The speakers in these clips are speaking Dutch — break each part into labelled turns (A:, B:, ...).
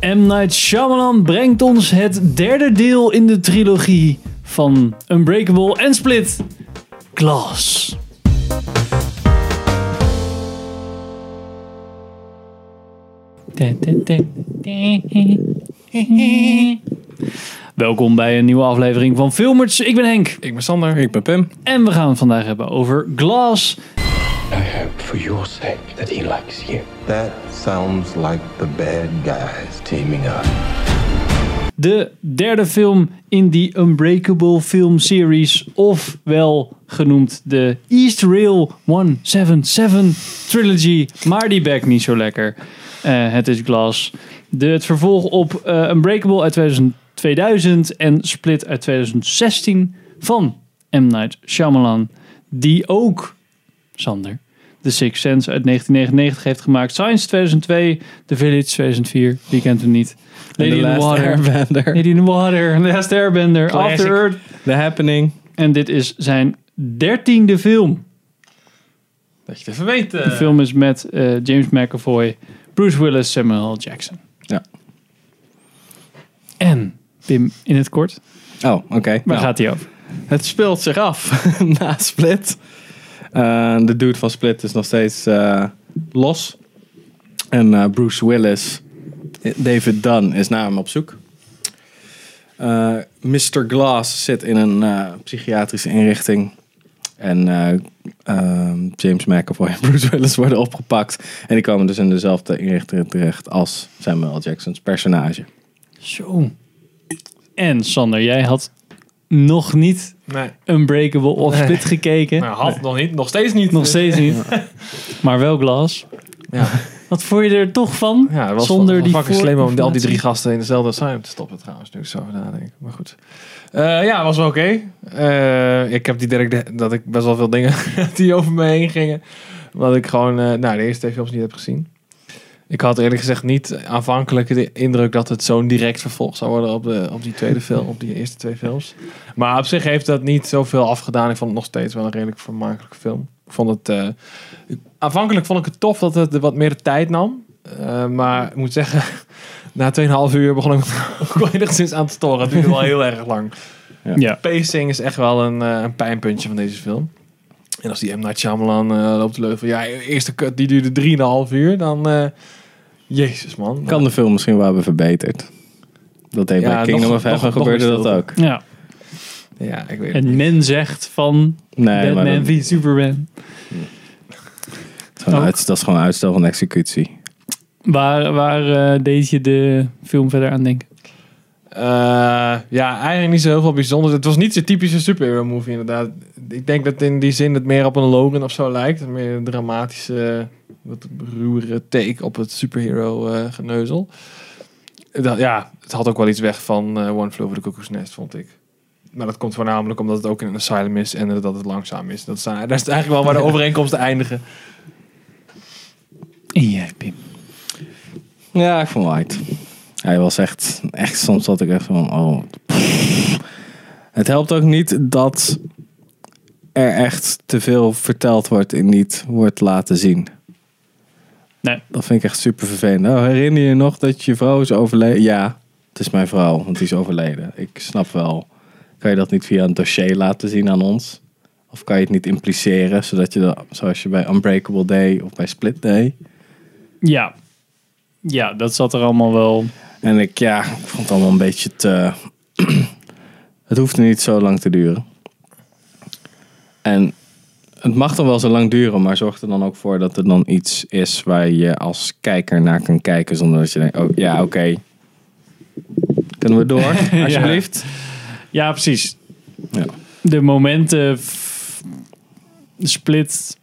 A: M. Night Shyamalan brengt ons het derde deel in de trilogie van Unbreakable en Split. Glass. Welkom bij een nieuwe aflevering van Filmers. Ik ben Henk
B: Ik ben Sander. Ik ben Pim.
A: en we gaan het vandaag hebben over Glass.
C: I hope for your sake that he likes you.
D: That sounds like the bad guys teaming up.
A: De derde film in die Unbreakable film series, ofwel genoemd de East Rail 177 trilogy, maar die bek niet zo lekker. Eh, het is Glass. De, het vervolg op eh, Unbreakable uit 2000, 2000 en Split uit 2016 van M. Night Shyamalan, die ook, Sander, The Sixth Sense uit 1999 heeft gemaakt, Science 2002, The Village 2004, wie kent hem niet, Lady in the Water,
B: Airbender.
A: Lady in the Water, Last Airbender,
B: Classic.
A: After Earth.
B: The Happening.
A: En dit is zijn dertiende film.
B: Dat je het even weet.
A: De film is met eh, James McAvoy, Bruce Willis, Samuel L. Jackson.
B: Ja.
A: En, Pim, in het kort,
B: Oh, oké.
A: waar
B: Nou,
A: gaat hij over?
B: Het speelt zich af na Split. Eh, de dude van Split is nog steeds eh, los. En eh, Bruce Willis, David Dunn, is naar hem op zoek. Eh, Mr. Glass zit in een eh, psychiatrische inrichting. En eh, ehm, James McAvoy en Bruce Willis worden opgepakt. En die komen dus in dezelfde inrichting terecht als Samuel L. Jackson's personage.
A: Zo. En, Sander, jij had nog niet
E: Nee.
A: Unbreakable of Split gekeken.
E: Nou, had nog niet. Nog steeds niet.
A: Nog
E: Dus-
A: steeds niet. Maar wel Glass.
E: Ja.
A: Wat vond je er toch van?
E: Ja, het
A: Zonder
E: was Zonder wel,
A: die
E: die fucking slim om al die
A: voorinformatie.
E: drie gasten in dezelfde samen te stoppen trouwens. Nu ik zo nadenk. Maar goed. Eh, ja, was wel oké. Eh, ik heb die direct dat ik best wel veel dingen die over me heen gingen. Wat ik gewoon eh, nou, de eerste twee films niet heb gezien. Ik had eerlijk gezegd niet aanvankelijk de indruk dat het zo'n direct vervolg zou worden op, de, op die tweede film, op die eerste twee films. Maar op zich heeft dat niet zoveel afgedaan. Ik vond het nog steeds wel een redelijk vermakelijke film. Ik vond het, eh, ik- aanvankelijk vond ik het tof dat het wat meer tijd nam. Eh, maar ik moet zeggen, na 2,5 uur begon ik me ook wel enigszins aan te storen. Het duurde wel heel erg lang.
A: Ja.
E: Pacing is echt wel een, eh, een pijnpuntje van deze film. En als die M. Night Shyamalan eh, loopt te leuven, ja, eerste cut die duurde 3,5 uur, dan... eh, jezus man.
B: Kan de film misschien wel hebben verbeterd. Dat heeft
E: Ja,
B: bij Kingdom
E: nog-
B: of Heaven
E: nog- nog
B: gebeurde
E: niet
B: dat
E: veel.
B: ook.
A: ja.
E: Ja, ik weet het.
A: En men zegt van
B: Nee, maar
A: Batman v
B: dat,
A: Superman.
B: is gewoon
A: Ook.
B: uit- dat is gewoon uitstel van executie.
A: Waar, waar eh, deed je de film verder aan denken?
E: Eh, ja, eigenlijk niet zo heel veel bijzonders. Het was niet zo'n typische superhero movie inderdaad. Ik denk dat in die zin het meer op een Logan of zo lijkt. Een meer een dramatische, wat ruwere take op het superhero eh, geneuzel. Dat, ja, het had ook wel iets weg van eh, One Flew Over the Cuckoo's Nest, vond ik. Maar dat komt voornamelijk omdat het ook in een asylum is en dat het langzaam is. Dat, zijn, dat is eigenlijk wel waar de overeenkomsten eindigen.
A: En jij, Pim.
B: Ja, ik vond White. Hij was echt, echt soms zat ik echt van, oh. pff. Het helpt ook niet dat er echt te veel verteld wordt en niet wordt laten zien.
A: Nee.
B: Dat vind ik echt super vervelend. Oh, herinner je nog dat je vrouw is overleden? Ja, het is mijn vrouw, want die is overleden. Ik snap wel. Kan je dat niet via een dossier laten zien aan ons? Of kan je het niet impliceren, zodat je dat, zoals je bij Unbreakable Day of bij Split Day,
A: Ja. Ja, dat zat er allemaal wel.
B: En ik, ja, ik vond het allemaal een beetje te... het hoefde niet zo lang te duren. En het mag dan wel zo lang duren, maar zorg er dan ook voor dat er dan iets is waar je als kijker naar kan kijken. Zonder dat je denkt, oh ja, oké. Kunnen we door, alsjeblieft?
A: Ja, precies.
B: Ja.
A: De momenten f- split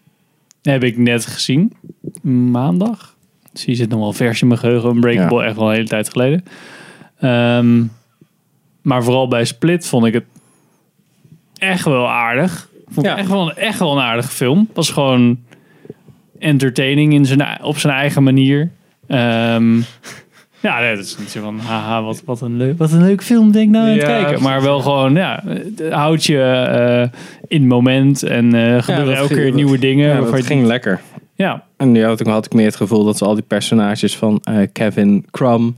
A: heb ik net gezien. Maandag. Zie zit nog wel vers in mijn geheugen. Unbreakable echt wel een hele tijd geleden. Ehm, maar vooral bij Split vond ik het echt wel aardig. Vond ik
B: Ja.
A: echt, wel, echt wel een aardige film. Was gewoon entertaining in zijn, op zijn eigen manier. Ehm, ja, nee, dat is niet zo van, haha, wat, wat, een, leuk, wat een leuk film, denk ik nou aan het
E: Ja,
A: kijken.
E: precies,
A: Maar wel gewoon, ja, het houdt je eh, in het moment en eh gebeuren
B: dat
A: elke
B: ging-
A: keer
B: dat-
A: nieuwe dingen.
B: Ja,
A: waarvan
B: dat
A: je-
B: ging lekker.
A: ja,
B: En nu had ik, had ik meer het gevoel dat ze al die personages van eh, Kevin Crumb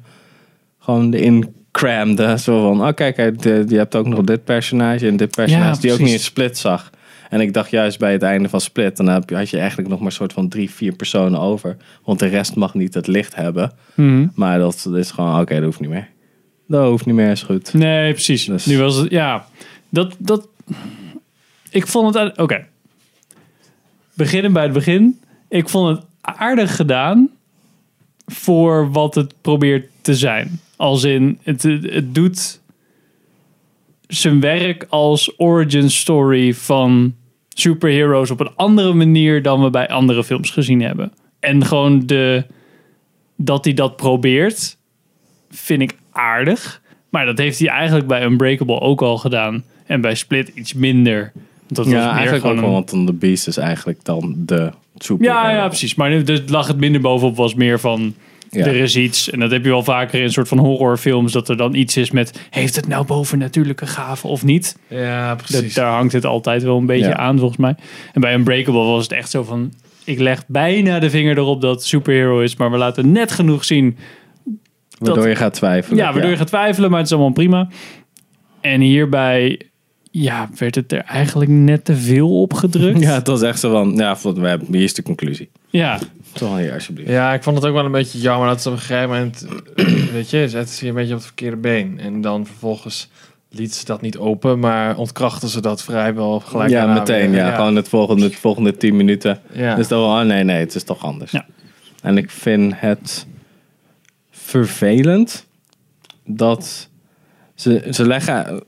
B: gewoon erin cramde. Zo van, oh kijk, hij- de- je hebt ook nog dit personage en dit personage. die ook
A: precies.
B: niet in Split zag. En ik dacht juist bij het einde van Split, dan heb je- had je eigenlijk nog maar een soort van drie, vier personen over. Want de rest mag niet het licht hebben.
A: Mhm.
B: Maar dat is gewoon, oké, dat hoeft niet meer. Dat hoeft niet meer, is goed.
A: Nee, precies.
B: Dus-
A: Nu was het, ja. Dat, dat. Ik vond het. uit- Oké. Beginnen bij het begin. Ik vond het aardig gedaan. Voor wat het probeert te zijn. Als in, het, het doet zijn werk als origin story van superheroes op een andere manier dan we bij andere films gezien hebben. En gewoon de, dat hij dat probeert, vind ik aardig. Maar dat heeft hij eigenlijk bij Unbreakable ook al gedaan. En bij Split iets minder. Want dat was
B: ja,
A: meer
B: eigenlijk ook
A: gewoon
B: wel,
A: een-
B: want dan de Beast is eigenlijk dan de superhero.
A: ja, ja, precies. Maar nu- dus lag het minder bovenop was meer van...
B: Ja.
A: Er is iets, en dat heb je wel vaker in soort van horrorfilms, dat er dan iets is met... Heeft het nou bovennatuurlijke gave of niet?
E: Ja,
A: Dat,
E: precies.
A: daar hangt het altijd wel een beetje
B: Ja.
A: aan, volgens mij. En bij Unbreakable was het echt zo van... Ik leg bijna de vinger erop dat het superhero is, maar we laten net genoeg zien.
B: Waardoor
A: dat-
B: je gaat twijfelen.
A: Ja, waardoor je gaat twijfelen, maar het is allemaal prima. En hierbij... Ja, werd het er eigenlijk net te veel op gedrukt.
B: Ja, het was echt zo van, ja, we hebben, hier is de conclusie.
A: ja.
B: Toch hier, alsjeblieft.
E: Ja, ik vond het ook wel een beetje jammer dat ze op een gegeven moment, weet je, zetten ze je een beetje op het verkeerde been. En dan vervolgens liet ze dat niet open, maar ontkrachten ze dat vrijwel gelijk
B: ja,
E: daarna
B: meteen.
E: weer.
B: Ja, Gewoon het volgende, het volgende tien minuten.
E: Ja.
B: Dus dan wel, oh nee, nee, het is toch anders.
A: Ja.
B: En ik vind het vervelend dat ze, ze leggen...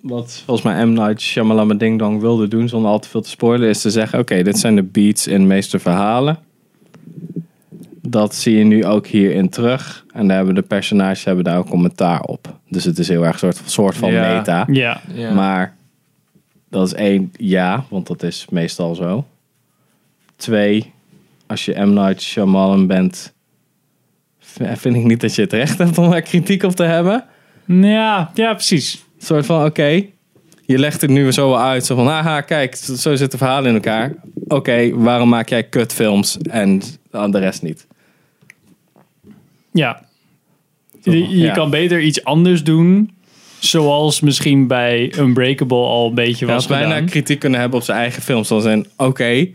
B: Wat volgens mij M. Night Shyamalan Ding Dong wilde doen, zonder al te veel te spoilen, is te zeggen, oké, dit zijn de beats in de meeste verhalen. Dat zie je nu ook hierin terug. En daar hebben de personages hebben daar ook commentaar op. Dus het is heel erg een soort, soort van
E: Ja.
B: meta.
A: ja.
E: Ja.
B: Maar dat is één, ja, want dat is meestal zo. Twee, als je M. Night Shyamalan bent, v- vind ik niet dat je het recht hebt om daar kritiek op te hebben.
A: Ja, ja, precies.
B: Een soort van, oké, je legt het nu weer zo wel uit. Zo van, haha, kijk, zo zo zit de verhalen in elkaar. Oké, waarom maak jij kutfilms en de rest niet?
A: Ja.
B: Toch?
A: Je, je
B: Ja.
A: kan beter iets anders doen. Zoals misschien bij Unbreakable al een beetje
B: Je
A: was
B: had bijna
A: gedaan.
B: kritiek kunnen hebben op zijn eigen films. Dan zijn, oké,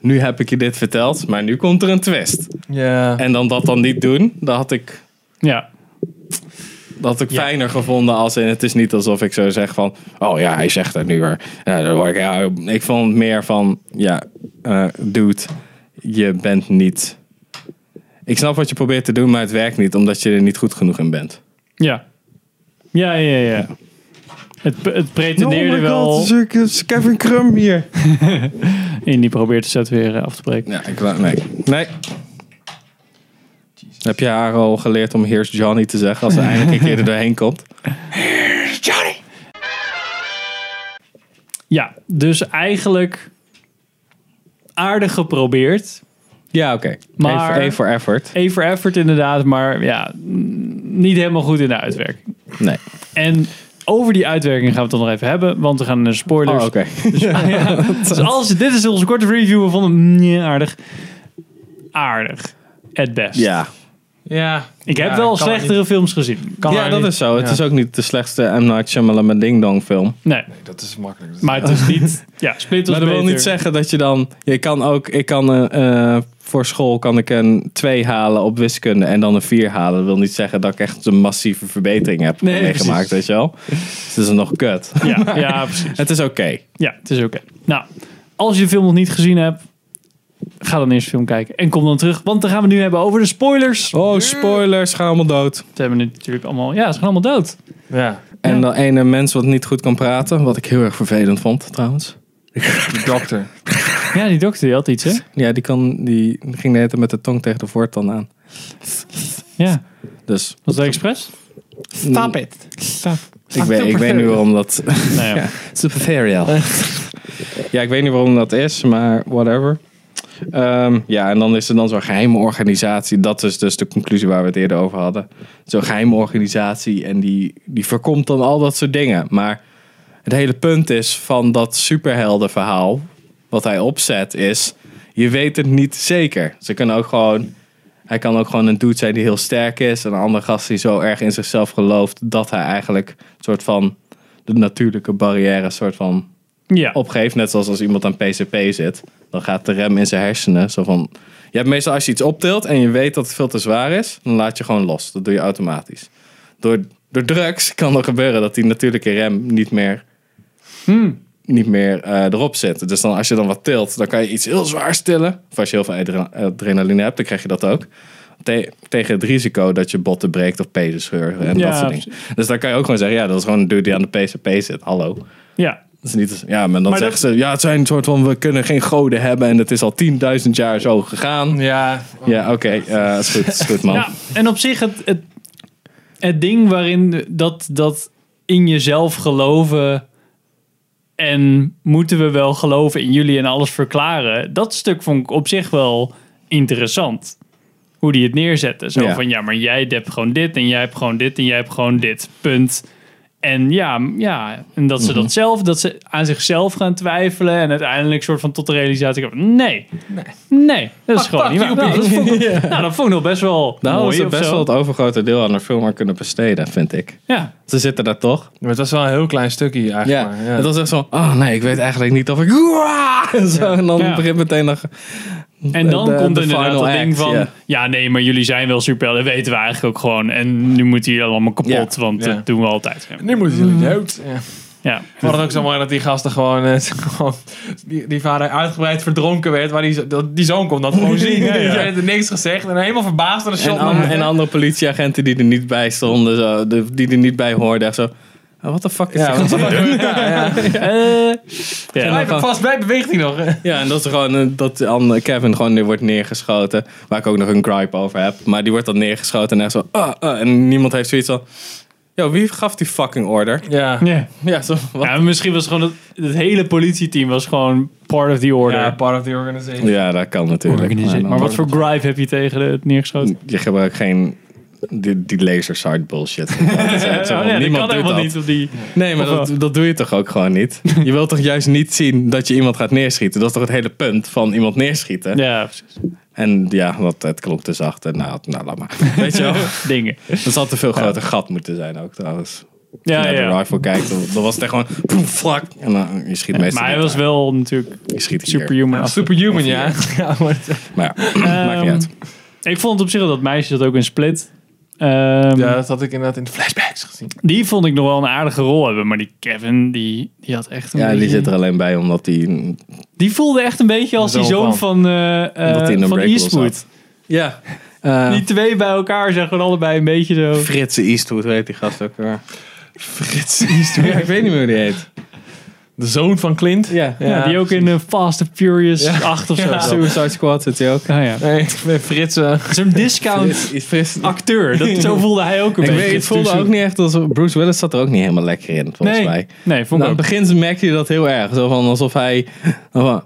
B: nu heb ik je dit verteld, maar nu komt er een twist.
E: ja.
B: En dan dat dan niet doen, dan had ik
A: Ja.
B: Dat had ik fijner gevonden als in het is niet alsof ik zo zeg van oh ja hij zegt dat nu weer. Ja, dan word ik, ja, ik vond het meer van ja eh, dude je bent niet. Ik snap wat je probeert te doen maar het werkt niet omdat je er niet goed genoeg in bent.
A: Ja. Ja, ja, ja. ja. Het, het
B: Oh
A: pretendeerde wel.
B: Kevin Crum hier.
A: En die probeert de set weer eh, af te breken.
B: Ja ik wou- nee nee. Heb je haar al geleerd om Here's Johnny te zeggen als ze eindelijk een keer er doorheen komt?
A: Ja, dus eigenlijk aardig geprobeerd.
B: Ja oké.
A: Maar-
B: Maar... Eén voor effort.
A: Even effort inderdaad, maar ja, mm, niet helemaal goed in de uitwerking.
B: Nee.
A: En over die uitwerking gaan we het dan nog even hebben, want we gaan naar de spoilers.
B: Oh, oké.
A: Dus als, dit is onze korte review. We vonden hem mm, aardig. Aardig. Het best.
B: Ja.
E: ja.
A: Ik heb
E: Ja,
A: wel
E: kan
A: slechtere
E: niet-
A: films gezien.
E: kan
B: Ja,
E: er
B: dat
E: niet-
B: is zo. Het
E: ja.
B: is ook niet de slechtste M. Night Shyamalan Ding Dong film.
A: Nee,
E: Dat is makkelijk. Dat is-
A: maar het is niet... Ja, Split was
B: Maar dat wil
A: beter.
B: niet zeggen dat je dan... Je kan ook... Ik kan eh, eh, voor school kan ik een 2 halen op wiskunde en dan een 4 halen. Dat wil niet zeggen dat ik echt een massieve verbetering heb
A: Nee,
B: meegemaakt,
A: precies.
B: weet je wel. Dus het is nog kut.
A: Ja, ja, precies.
B: Het is oké.
A: Ja, het is oké. Nou, als je de film nog niet gezien hebt, ga dan eerst de film kijken. En kom dan terug, want dan gaan we het nu hebben over de spoilers.
B: Oh, spoilers. Gaan allemaal dood.
A: Ze hebben natuurlijk allemaal... Ja, ze gaan allemaal dood.
E: Ja.
B: En dan ene mens wat niet goed kan praten. Wat ik heel erg vervelend vond, trouwens.
E: De dokter.
A: Ja, die dokter die had iets, hè?
B: Ja, die, kan, die ging de hele tijd met de tong tegen de voortand aan.
A: Ja.
B: Dus
A: Was dat expres?
E: Stop it.
B: ik weet, ik weet nu waarom dat...
A: Nou ja.
B: Super Ferial. ja, ik weet niet waarom dat is, maar whatever. Ehm, ja, en dan is er dan zo'n geheime organisatie. Dat is dus de conclusie waar we het eerder over hadden. Zo'n geheime organisatie en die, die voorkomt dan al dat soort dingen. Maar het hele punt is van dat superheldenverhaal, wat hij opzet, is... Je weet het niet zeker. Ze kunnen ook gewoon Hij kan ook gewoon een dude zijn die heel sterk is. En een andere gast die zo erg in zichzelf gelooft dat hij eigenlijk een soort van de natuurlijke barrière een soort van
A: Ja.
B: opgeeft. Net zoals als iemand aan PCP zit, dan gaat de rem in zijn hersenen. Zo van, je hebt meestal als je iets optilt en je weet dat het veel te zwaar is, dan laat je gewoon los. Dat doe je automatisch. Door, door drugs kan er gebeuren dat die natuurlijke rem niet meer,
A: Hmm.
B: niet meer eh, erop zit. Dus dan, als je dan wat tilt, dan kan je iets heel zwaar stillen. Of als je heel veel adre- adrenaline hebt, dan krijg je dat ook. Te- tegen het risico dat je botten breekt of pezen scheuren en
A: Ja,
B: dat soort dingen. Dus dan kan je ook gewoon zeggen, ja, dat is gewoon een dude die aan de PCP zit. Hallo.
A: ja.
B: Dat is niet, als- ja, maar dan
A: Maar
B: zeggen ze, ja, het zijn een soort van, we kunnen geen goden hebben en het is al 10.000 jaar zo gegaan.
E: Ja,
B: Ja, oké, eh, is goed, is goed man.
A: ja. En op zich het, het, het ding waarin dat, dat in jezelf geloven en moeten we wel geloven in jullie en alles verklaren. Dat stuk vond ik op zich wel interessant. Hoe die het neerzetten. Zo
B: Ja.
A: van ja, maar jij hebt gewoon dit en jij hebt gewoon dit en jij hebt gewoon dit. Punt. En ja, m- ja, en dat ze
B: Mhm.
A: dat zelf, dat ze aan zichzelf gaan twijfelen en uiteindelijk soort van tot de realisatie komen. Nee, nee, dat is
E: Ah,
A: gewoon
E: fuck
A: niet waar.
E: you,
A: Nou, dat
E: bitch.
A: vond ik, nou, dat vond ik nog best wel
B: Daar hadden
A: mooi
B: ze
A: of
B: Nou, best
A: zo.
B: wel het overgrote deel aan de film aan kunnen besteden, vind ik.
A: Ja,
B: Ze zitten daar toch?
E: Maar het was wel een heel klein stukje eigenlijk. maar,
B: Het was echt zo, oh nee, ik weet eigenlijk niet of ik... En, zo, en dan
A: Ja.
B: begint meteen nog...
A: en dan
B: de- de
A: komt er inderdaad
B: final
A: dat ding
B: act,
A: van...
B: ja.
A: Ja, nee, maar jullie zijn wel super, dat weten we eigenlijk ook gewoon. En nu moeten jullie allemaal kapot, want
E: Ja.
A: dat doen we altijd.
E: Nu moeten jullie dood. Mm. Ja.
A: Ja,
E: Wat het ook zo mooi dat die gasten gewoon, eh, gewoon die, die vader uitgebreid verdronken werd, waar die, zo- dat- die zoon kon dat gewoon zien. Ja, Die werd er niks gezegd en helemaal verbaasd naar de shot.
B: En, an-
E: naar-
B: en andere politieagenten die er niet bij stonden, zo, de- die er niet bij hoorden. Echt zo, wat de fuck is
E: ja,
B: er
E: want- ja, ja.
A: ja.
E: Blijf er vast bij, beweegt hij nog.
B: Ja, en dat is gewoon eh, dat die andere- Kevin gewoon die wordt neergeschoten. Waar ik ook nog een gripe over heb. Maar die wordt dan neergeschoten en echt zo. ah, ah, en niemand heeft zoiets van. Yo, wie gaf die fucking order?
E: Ja.
A: Ja.
B: Ja, zo. Wat?
A: Ja, misschien was gewoon het, het hele politieteam was gewoon part of the order.
E: Ja, part of the organization.
B: Ja, dat kan natuurlijk.
A: maar
B: dan-
A: wat voor gripe heb je tegen het neergeschoten? Oh,
B: Je gebruikt geen. Die, die laser sight bullshit. Dat is echt zo,
A: Ja, dat kan
B: niemand doet
A: helemaal
B: dat.
A: niet op die...
B: Nee, maar
A: Of wel?
B: dat, dat doe je toch ook gewoon niet? Je wilt toch juist niet zien dat je iemand gaat neerschieten? Dat is toch het hele punt van iemand neerschieten?
A: Ja, precies.
B: En ja, want het klonk te zacht. En nou, nou, laat maar. Weet je wel?
A: dingen.
B: Dat zal te veel groter gat moeten zijn ook trouwens.
A: Ja,
B: Als je naar de
A: ja.
B: rifle kijkt, dan, dan was het echt gewoon... poem, Vlak! En dan, je schiet meestal
A: Maar hij
B: niet
A: was
B: daar.
A: wel natuurlijk
B: Je schiet hier.
A: superhuman. af.
E: Superhuman, ja. ja maar,
B: Maar ja, maakt niet
A: Ehm,
B: uit.
A: Ik vond op zich wel dat meisje dat ook in Split. Ehm,
E: ja, dat had ik inderdaad in de flashbacks gezien.
A: Die vond ik nog wel een aardige rol hebben. Maar die Kevin, die, die had echt een
B: Ja,
A: beetje...
B: die zit er alleen bij omdat die...
A: Die voelde echt een beetje als
E: Zoon
A: die zoon
E: van.
A: van, eh, eh,
B: Omdat hij in een
A: van
B: breakable
A: Eastwood.
B: zat. Ja. Eh,
A: Die twee bij elkaar zijn gewoon allebei een beetje zo...
B: Frits Eastwood, weet die gast ook weer. Frits Eastwood? Ja, ik weet niet meer hoe die heet.
E: De zoon van Clint.
B: Ja.
A: Ja, die ook in eh, Fast and Furious 8 of zo.
E: Ja.
A: zat.
B: Suicide Squad zit hij ook.
A: Ah, ja.
E: Nee, Frits. eh,
A: Zo'n discount
B: Frits, Frits,
A: acteur. Dat, zo voelde hij ook een
B: Ah, ik
A: beetje.
B: weet, het voelde
A: Toen
B: ook
A: ze-
B: niet echt als Bruce Willis zat er ook niet helemaal lekker in, volgens
A: Nee,
B: mij. Nou,
A: nee, vond ik
B: aan
A: ook.
B: het begin merkte je dat heel erg. Zo van alsof hij. van,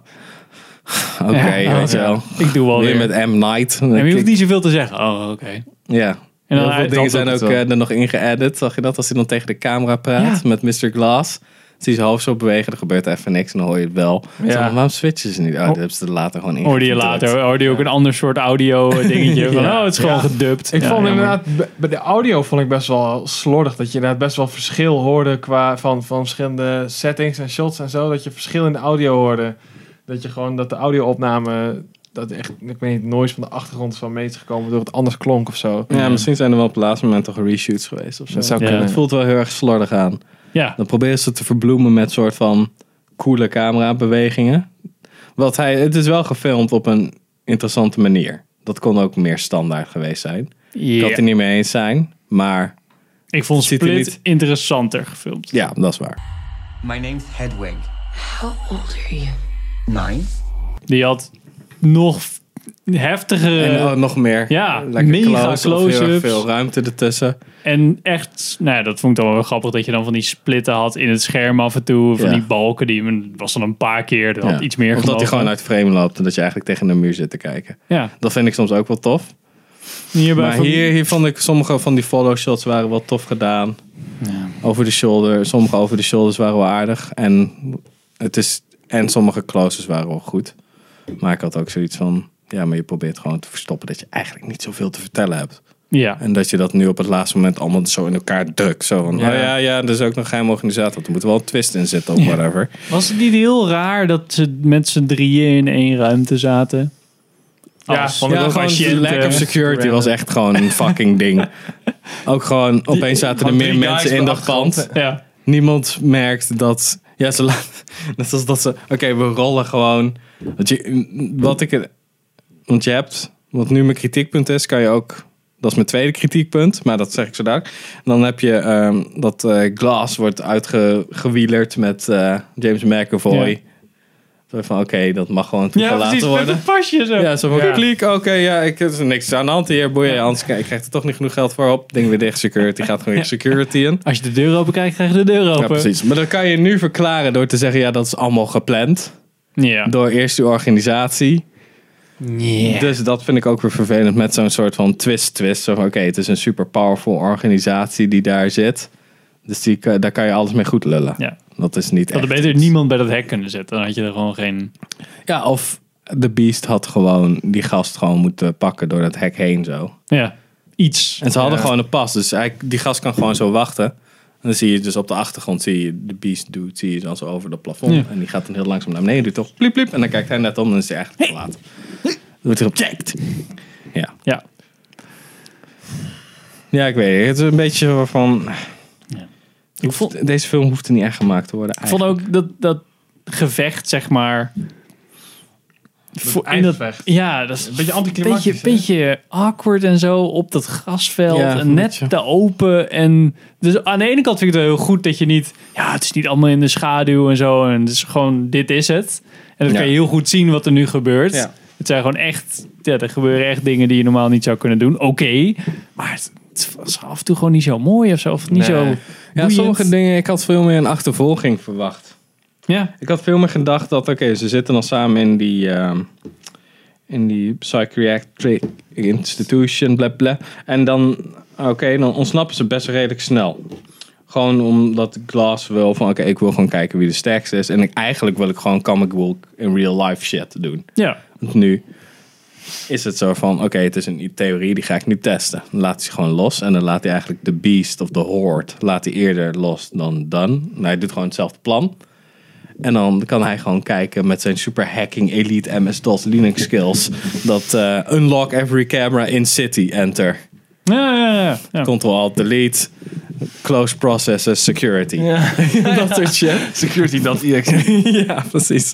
B: Oké,
A: Ja,
B: weet je
A: ja.
B: wel.
A: Ik doe wel
B: Weer
A: weer.
B: met M. Night.
A: En je hoeft niet zoveel te zeggen. Oh, oké.
B: Ja.
A: En
B: Heel
A: hij-
B: veel dingen
A: dat
B: zijn
A: doet
B: ook
A: het wel.
B: eh, er nog in geëdit. Zag je dat? Als hij dan tegen de camera praat met Mr. Glass. Dus Zie je zijn hoofd zo bewegen, er gebeurt even niks en dan hoor je het wel.
E: Ja.
B: Zo van, waarom switchen ze niet? Oh, dat hebben ze er later gewoon in.
A: Hoorde je later, hoorde je ook een ander soort audio eh, dingetje. van, oh, het is gewoon gedubt.
E: Ik
A: Ja,
E: vond
A: jammer.
E: inderdaad, bij- bij de audio vond ik best wel slordig. Dat je inderdaad best wel verschil hoorde qua van, van verschillende settings en shots en zo. Dat je verschil in de audio hoorde. Dat je gewoon, dat de audio-opname, dat echt, ik weet niet, noise van de achtergrond van mee is gekomen door het anders klonk of zo. Dus
B: Ja, misschien zijn er wel op het laatste moment toch reshoots geweest of zo.
E: Dat zou
A: Ja.
E: kunnen.
B: Het voelt wel heel erg slordig aan.
A: Ja,
B: Dan proberen ze te verbloemen met soort van coole camerabewegingen. Wat hij, het is wel gefilmd op een interessante manier. Dat kon ook meer standaard geweest zijn. Ik kan
A: ja.
B: het er niet mee eens zijn, maar
A: ik vond
B: ziet er
A: Split
B: niet-
A: interessanter gefilmd.
B: ja, dat is waar.
F: My name's Hedwig.
G: How old are you?
F: Nine?
A: Die had nog f- heftigere
B: En
A: en,
B: oh, nog meer.
A: Eh, ja,
B: Lekker
A: mega
B: close-ups, heel erg
A: close-ups.
B: Veel ruimte ertussen.
A: echt, nou ja, dat vond ik dan wel weer grappig dat je dan van die splitten had in het scherm af en toe. Van
B: Ja.
A: die balken, die men- was dan een paar keer, dat had
B: Ja.
A: iets meer
B: of dat hij
A: gemogen.
B: gewoon uit frame loopt en dat je eigenlijk tegen de muur zit te kijken.
A: Ja,
B: Dat vind ik soms ook wel tof.
A: hierbij
B: Maar
A: vond-
B: hier, hier vond ik sommige van die follow shots waren wel tof gedaan. Over de shoulder. Sommige over de shoulders waren wel aardig. En, het is, en sommige closes waren wel goed. Maar ik had ook zoiets van. Ja, maar je probeert gewoon te verstoppen dat je eigenlijk niet zoveel te vertellen hebt.
A: Ja.
B: En dat je dat nu op het laatste moment allemaal zo in elkaar drukt. Zo van,
E: Ja.
B: oh ja, ja, er is ook nog een geheime organisatie. want Er moet wel een twist in zitten of whatever.
A: Was het niet heel raar dat ze met z'n drieën in één ruimte zaten?
E: Ja,
A: Als-
E: vond ik
B: ja,
E: ook
B: gewoon
E: als je
B: de
E: in
B: lack
E: de-
A: eh,
B: of security
E: random.
B: was echt gewoon een fucking ding. Ook gewoon, opeens zaten er
E: Gewoon
B: meer
E: drie guys
B: mensen in
E: op de
B: dat pand.
E: achtergrond.
A: ja.
B: Niemand merkt dat... Ja, ze laten... Net als dat ze... Oké, we rollen gewoon... Want je, wat ik... Want je hebt... Wat nu mijn kritiekpunt is, kan je ook... Dat is mijn tweede kritiekpunt, maar dat zeg ik zo dadelijk. Dan heb je ehm, dat eh Glass wordt uitgewielerd met eh, James McAvoy.
A: Ja.
B: Zo van, oké, dat mag gewoon
A: ja,
B: toegelaten
A: precies. Met
B: worden.
A: een pasje zo.
B: Ja, zo van
E: Ja.
B: kliek, oké, ja, ik, er is niks aan de hand hier, boeien, anders k- ik krijg er toch niet genoeg geld voor op. Ding weer dicht, security, gaat gewoon weer security in.
A: Als je de deur open kijkt, krijg je de deur open.
B: Ja, precies. Maar dat kan je nu verklaren door te zeggen, ja, dat is allemaal gepland.
A: Ja.
B: Door eerst uw organisatie.
A: Yeah.
B: Dus dat vind ik ook weer vervelend met zo'n soort van twist-twist. Zo van, oké, het is een super powerful organisatie die daar zit. Dus die, kan- daar kan je alles mee goed lullen.
A: Ja.
B: Dat is niet
A: We
B: echt
A: hadden beter
B: iets.
A: niemand bij dat hek kunnen zetten. Dan had je er gewoon geen...
B: Ja, of The Beast had gewoon die gast gewoon moeten pakken door dat hek heen zo.
A: Ja, iets.
B: En ze hadden
E: Ja.
B: gewoon een pas. Dus eigenlijk, die gast kan gewoon zo wachten. En dan zie je dus op de achtergrond, zie je de beast doet, zie je dan zo over dat plafond.
A: Ja.
B: En die gaat dan heel langzaam naar beneden, doet toch pliep pliep. En dan kijkt hij net om en dan is hij eigenlijk te laat. Dan wordt erop checked. Ja.
A: Ja.
B: ja, ik weet het. Het is een beetje van,
A: Ik vond,
B: deze film hoeft er niet echt gemaakt te worden.
A: ik vond ook dat, dat gevecht, zeg maar... voor- in dat-
E: ijsgevecht.
A: ja, dat is een
E: beetje anticlimactisch,
A: beetje, beetje awkward en zo op dat grasveld.
B: Ja,
A: en net
B: beetje.
A: te open. En dus aan de ene kant vind ik het wel heel goed dat je niet... Ja, het is niet allemaal in de schaduw en zo. En het is gewoon, dit is het. En dan
B: Ja.
A: kan je heel goed zien wat er nu gebeurt.
B: Ja.
A: Het zijn gewoon echt... Ja, er gebeuren echt dingen die je normaal niet zou kunnen doen. Oké, maar het, het was af en toe gewoon niet zo mooi of zo. Of niet
E: Nee.
A: zo...
B: Ja,
A: boeiend.
B: sommige dingen, ik had veel meer een achtervolging verwacht.
A: Ja,
B: Ik had veel meer gedacht dat, oké, ze zitten dan samen in die, ehm, in die psychiatric institution, bla bla. En dan, oké, dan ontsnappen ze best redelijk snel. Gewoon omdat Glass wil van, oké, ik wil gewoon kijken wie de sterkste is. En ik, eigenlijk wil ik gewoon comic book in real life shit doen.
A: ja.
B: Want nu is het zo van, oké, het is een theorie, die ga ik nu testen. Dan laat hij ze gewoon los en dan laat hij eigenlijk de beast of de horde, laat hij eerder los dan dan. Nou, hij doet gewoon hetzelfde plan. En dan kan hij gewoon kijken met zijn super hacking elite MS-DOS Linux skills. Dat eh, unlock every camera in city, enter.
A: Ja, ja, ja. ja.
B: Ctrl-Alt-Delete, close processes, security. dat soort shit. Security.exe. ja, precies.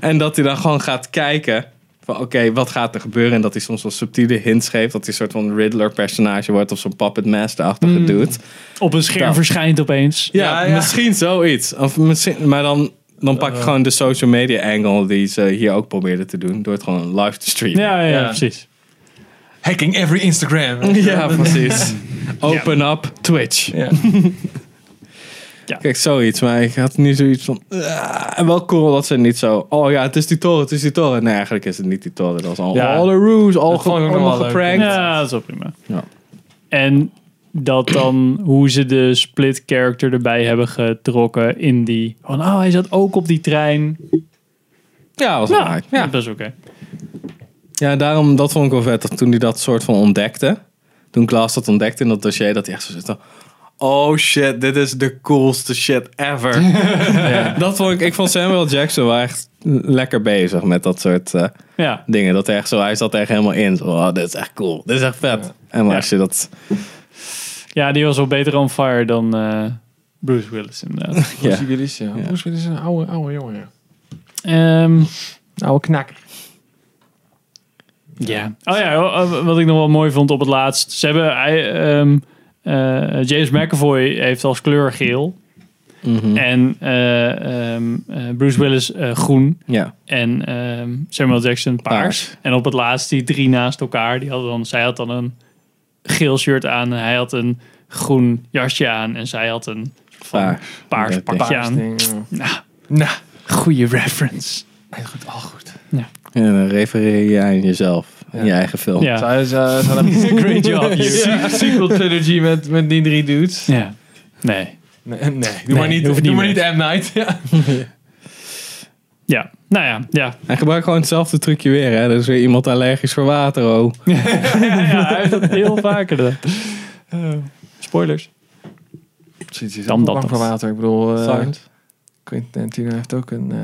B: En dat hij dan gewoon gaat kijken van oké, wat gaat er gebeuren? En dat hij soms wel subtiele hints geeft. Dat hij een soort van Riddler-personage wordt of zo'n Puppet Master-achtige doet.
A: Op een scherm
B: Nou.
A: verschijnt opeens.
B: Ja,
E: Ja, ja.
B: misschien zoiets. Of misschien, maar dan, dan pak ik gewoon de social media angle die ze hier ook probeerden te doen. Door het gewoon live te streamen.
A: Ja, ja,
E: Ja.
A: precies.
E: Hacking every Instagram.
B: Ja, precies. Open up Twitch.
E: Ja.
A: Ja.
B: Kijk, zoiets. Maar ik had nu zoiets van... ah, en wel cool dat ze niet zo... Oh ja, het is die toren, het is die toren. Nee, eigenlijk is het niet die toren. Dat is al
E: Ja.
B: all the ruse, all
E: Dat
B: ge,
E: vond ik ook nog
B: allemaal
E: wel leuk.
B: geprankt.
A: Ja, dat is wel prima.
B: Ja.
A: En dat dan hoe ze de split character erbij hebben getrokken in die... Van, oh, hij zat ook op die trein.
B: Ja, was
A: Nou,
B: wel leuk.
A: ja.
B: Ja.
A: dat is oké.
B: ja, daarom, dat vond ik wel vet. Dat toen hij dat soort van ontdekte. Toen Klaas dat ontdekte in dat dossier. Dat hij echt zo zit van, Oh shit, dit is de coolste shit ever. Dat vond ik, ik vond Samuel Jackson wel echt lekker bezig met dat soort... eh,
A: Ja.
B: dingen. Dat hij echt zo, hij zat er echt helemaal in. Zo, oh, dit is echt cool. Dit is echt vet. En maar als je dat...
A: ja, die was wel beter on fire dan eh, Bruce Willis inderdaad.
B: Ja.
E: Bruce Willis, ja. Bruce Willis is een oude, oude jongen. ja.
A: Ehm,
E: Een oude knakker.
A: Ja. Oh ja, wa- wat ik nog wel mooi vond op het laatst. Ze hebben, hij, ehm, eh, James McAvoy heeft als kleur geel.
B: Mhm.
A: En eh, ehm, eh, Bruce Willis eh, groen.
B: Ja.
A: En ehm, Samuel Jackson paars.
B: Paars.
A: En op het laatst die drie naast elkaar. Die hadden dan, zij had dan een geel shirt aan. En hij had een groen jasje aan. En zij had een van
B: Paars.
A: paars
B: Ja,
A: pakje
E: Paars
A: aan.
E: ding, ja.
A: Nou,
E: Nou,
A: goede reference.
E: heel goed, al goed.
B: En dan refereer je aan jezelf.
E: Ja.
B: In je eigen film.
A: Ja.
E: Zij zij- zij hadden een
A: Great job, you.
E: se- sequel trilogy met, met die drie dudes.
A: Ja. Nee.
E: Nee, nee, doe maar niet,
A: hoeft
E: doe
A: niet meer.
E: maar niet M. Night. Ja.
A: Ja, nou ja, ja.
B: Hij gebruikt gewoon hetzelfde trucje weer. Hè? Er is weer iemand allergisch voor water. Oh.
A: ja hij heeft dat heel vaker. gedaan. Eh. Spoilers.
E: Precies, is
A: Dan dat
E: dan
A: dus.
E: bang
A: nog.
E: voor water. Ik bedoel, eh
B: Silent.
E: Quentin Tarantino heeft ook een eh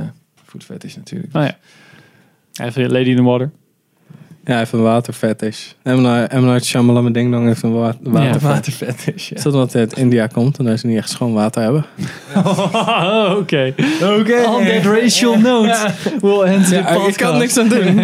E: food fetish natuurlijk.
A: Nou ja. Hij heeft Lady in the Water.
B: Ja, hij heeft een waterfetish. M. Night- M. Night Shyamalan Ding Dong heeft een wa- water.
A: Ja.
E: Water fetish, ja.
B: Is dat omdat hij uit India komt en daar ze niet echt schoon water hebben?
A: Oh, Oké.
E: Oké.
A: On that racial note, we'll end the podcast.
B: ik kan niks aan doen.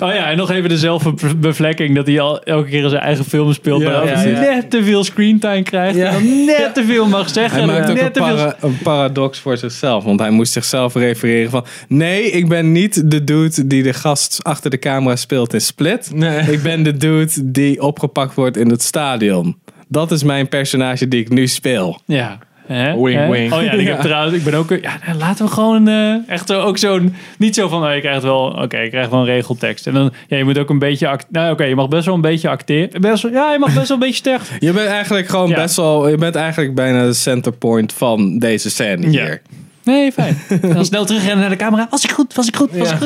A: Oh ja, en nog even dezelfde be- bevlekking. Dat hij al elke keer in zijn eigen film speelt.
B: Ja,
A: maar dat
B: ja,
A: hij
B: ja.
A: net te veel screentime krijgt.
E: Ja.
A: En dan net te veel mag zeggen.
B: Hij
A: en
B: maakt ook
A: net
B: een,
A: te veel-
B: para- een paradox voor zichzelf. Want hij moest zichzelf refereren van... Nee, ik ben niet de dude die de gast achter de camera speelt in Split.
E: Nee.
B: Ik ben de dude die opgepakt wordt in het stadion. Dat is mijn personage die ik nu speel.
A: Ja. Hè?
E: Wing,
A: Hè?
E: wing.
A: Oh ja, en ik heb
B: eh, Ja.
A: trouwens, ik ben ook, ja, nou, laten we gewoon eh, echt zo, ook zo'n, niet zo van, oh, je krijgt wel, oké, je krijgt wel een regeltekst. En dan, ja, je moet ook een beetje, act, nou oké, je mag best wel een beetje acteren. Best wel, ja, je mag best wel een beetje sterk.
B: Je bent eigenlijk gewoon
A: Ja.
B: best wel... Je bent eigenlijk bijna de centerpoint van deze scène
A: Ja.
B: hier.
A: Nee, fijn. En dan snel terugrennen naar de camera. Was ik goed? Was ik goed? Was
E: Ja.
A: ik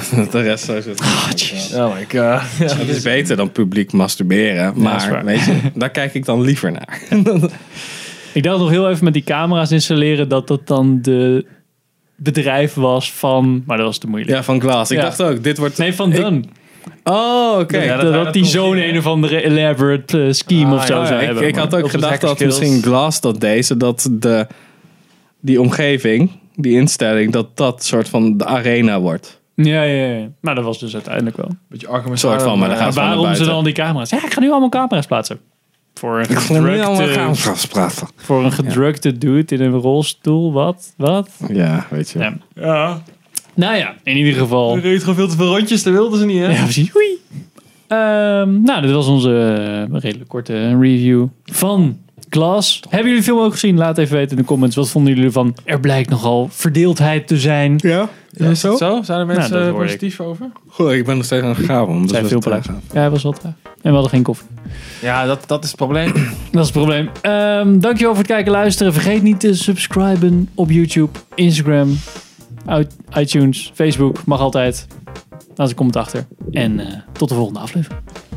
A: goed?
B: De rest zo zit.
E: Oh my god. Ja.
B: Dat is beter dan publiek masturberen.
A: dat dus- is
B: Maar
A: waar.
B: weet je, daar kijk ik dan liever naar.
A: Ik dacht nog heel even met die camera's installeren dat dat dan de bedrijf was van, maar dat was te moeilijk.
B: Ja, van Glass. Ik
A: Ja.
B: dacht ook, dit wordt...
A: Nee, van Dunn.
B: Oh, oké.
A: dat,
E: dat-
A: dat
E: dat
A: die
E: komt-
A: zo'n een of andere elaborate eh, scheme
E: Ah,
A: of zo
E: ja,
A: zou
B: ik,
A: hebben.
B: ik had ook
E: Op de
B: gedacht dat
E: hackerskills.
B: misschien Glass dat deze, dat de, die omgeving, die instelling, dat dat soort van de arena wordt.
A: Ja, ja, ja. Maar dat was dus uiteindelijk wel.
E: Beetje Arkham
B: Soort van, maar daar
E: Asylum,
B: gaat-
E: eh,
B: naar
A: Waarom ze
B: buiten.
A: dan die camera's? Ja, ik ga nu allemaal camera's plaatsen. Voor een gedrukte,
B: gaan praten.
A: voor een gedrukte dude in een rolstoel. Wat? Wat?
B: Ja, weet je.
A: Ja.
E: Ja.
A: Nou ja, in ieder geval.
E: Er reed gewoon veel te veel rondjes, dat wilden ze niet, hè?
A: Ja, precies. Oei. Ehm, nou, dit was onze eh, redelijk korte review van Glass. Hebben jullie de film ook gezien? Laat even weten in de comments. Wat vonden jullie ervan? Er blijkt nogal verdeeldheid te zijn.
B: Ja, is het zo?
E: Zo, zijn er mensen
A: Nou, dat
E: eh,
A: hoor ik.
E: positief over?
B: Goh, ik ben nog steeds aan het graven. Dus
A: Zijn
B: we
A: veel
B: zijn
A: praat.
B: traag.
A: Ja, hij was wat traag. En we hadden geen koffie.
E: Ja, dat, dat is het probleem.
A: Dat is het probleem. Ehm, dankjewel voor het kijken en luisteren. Vergeet niet te subscriben op YouTube, Instagram, uit- iTunes, Facebook. Mag altijd. Laat een comment achter. En eh, tot de volgende aflevering.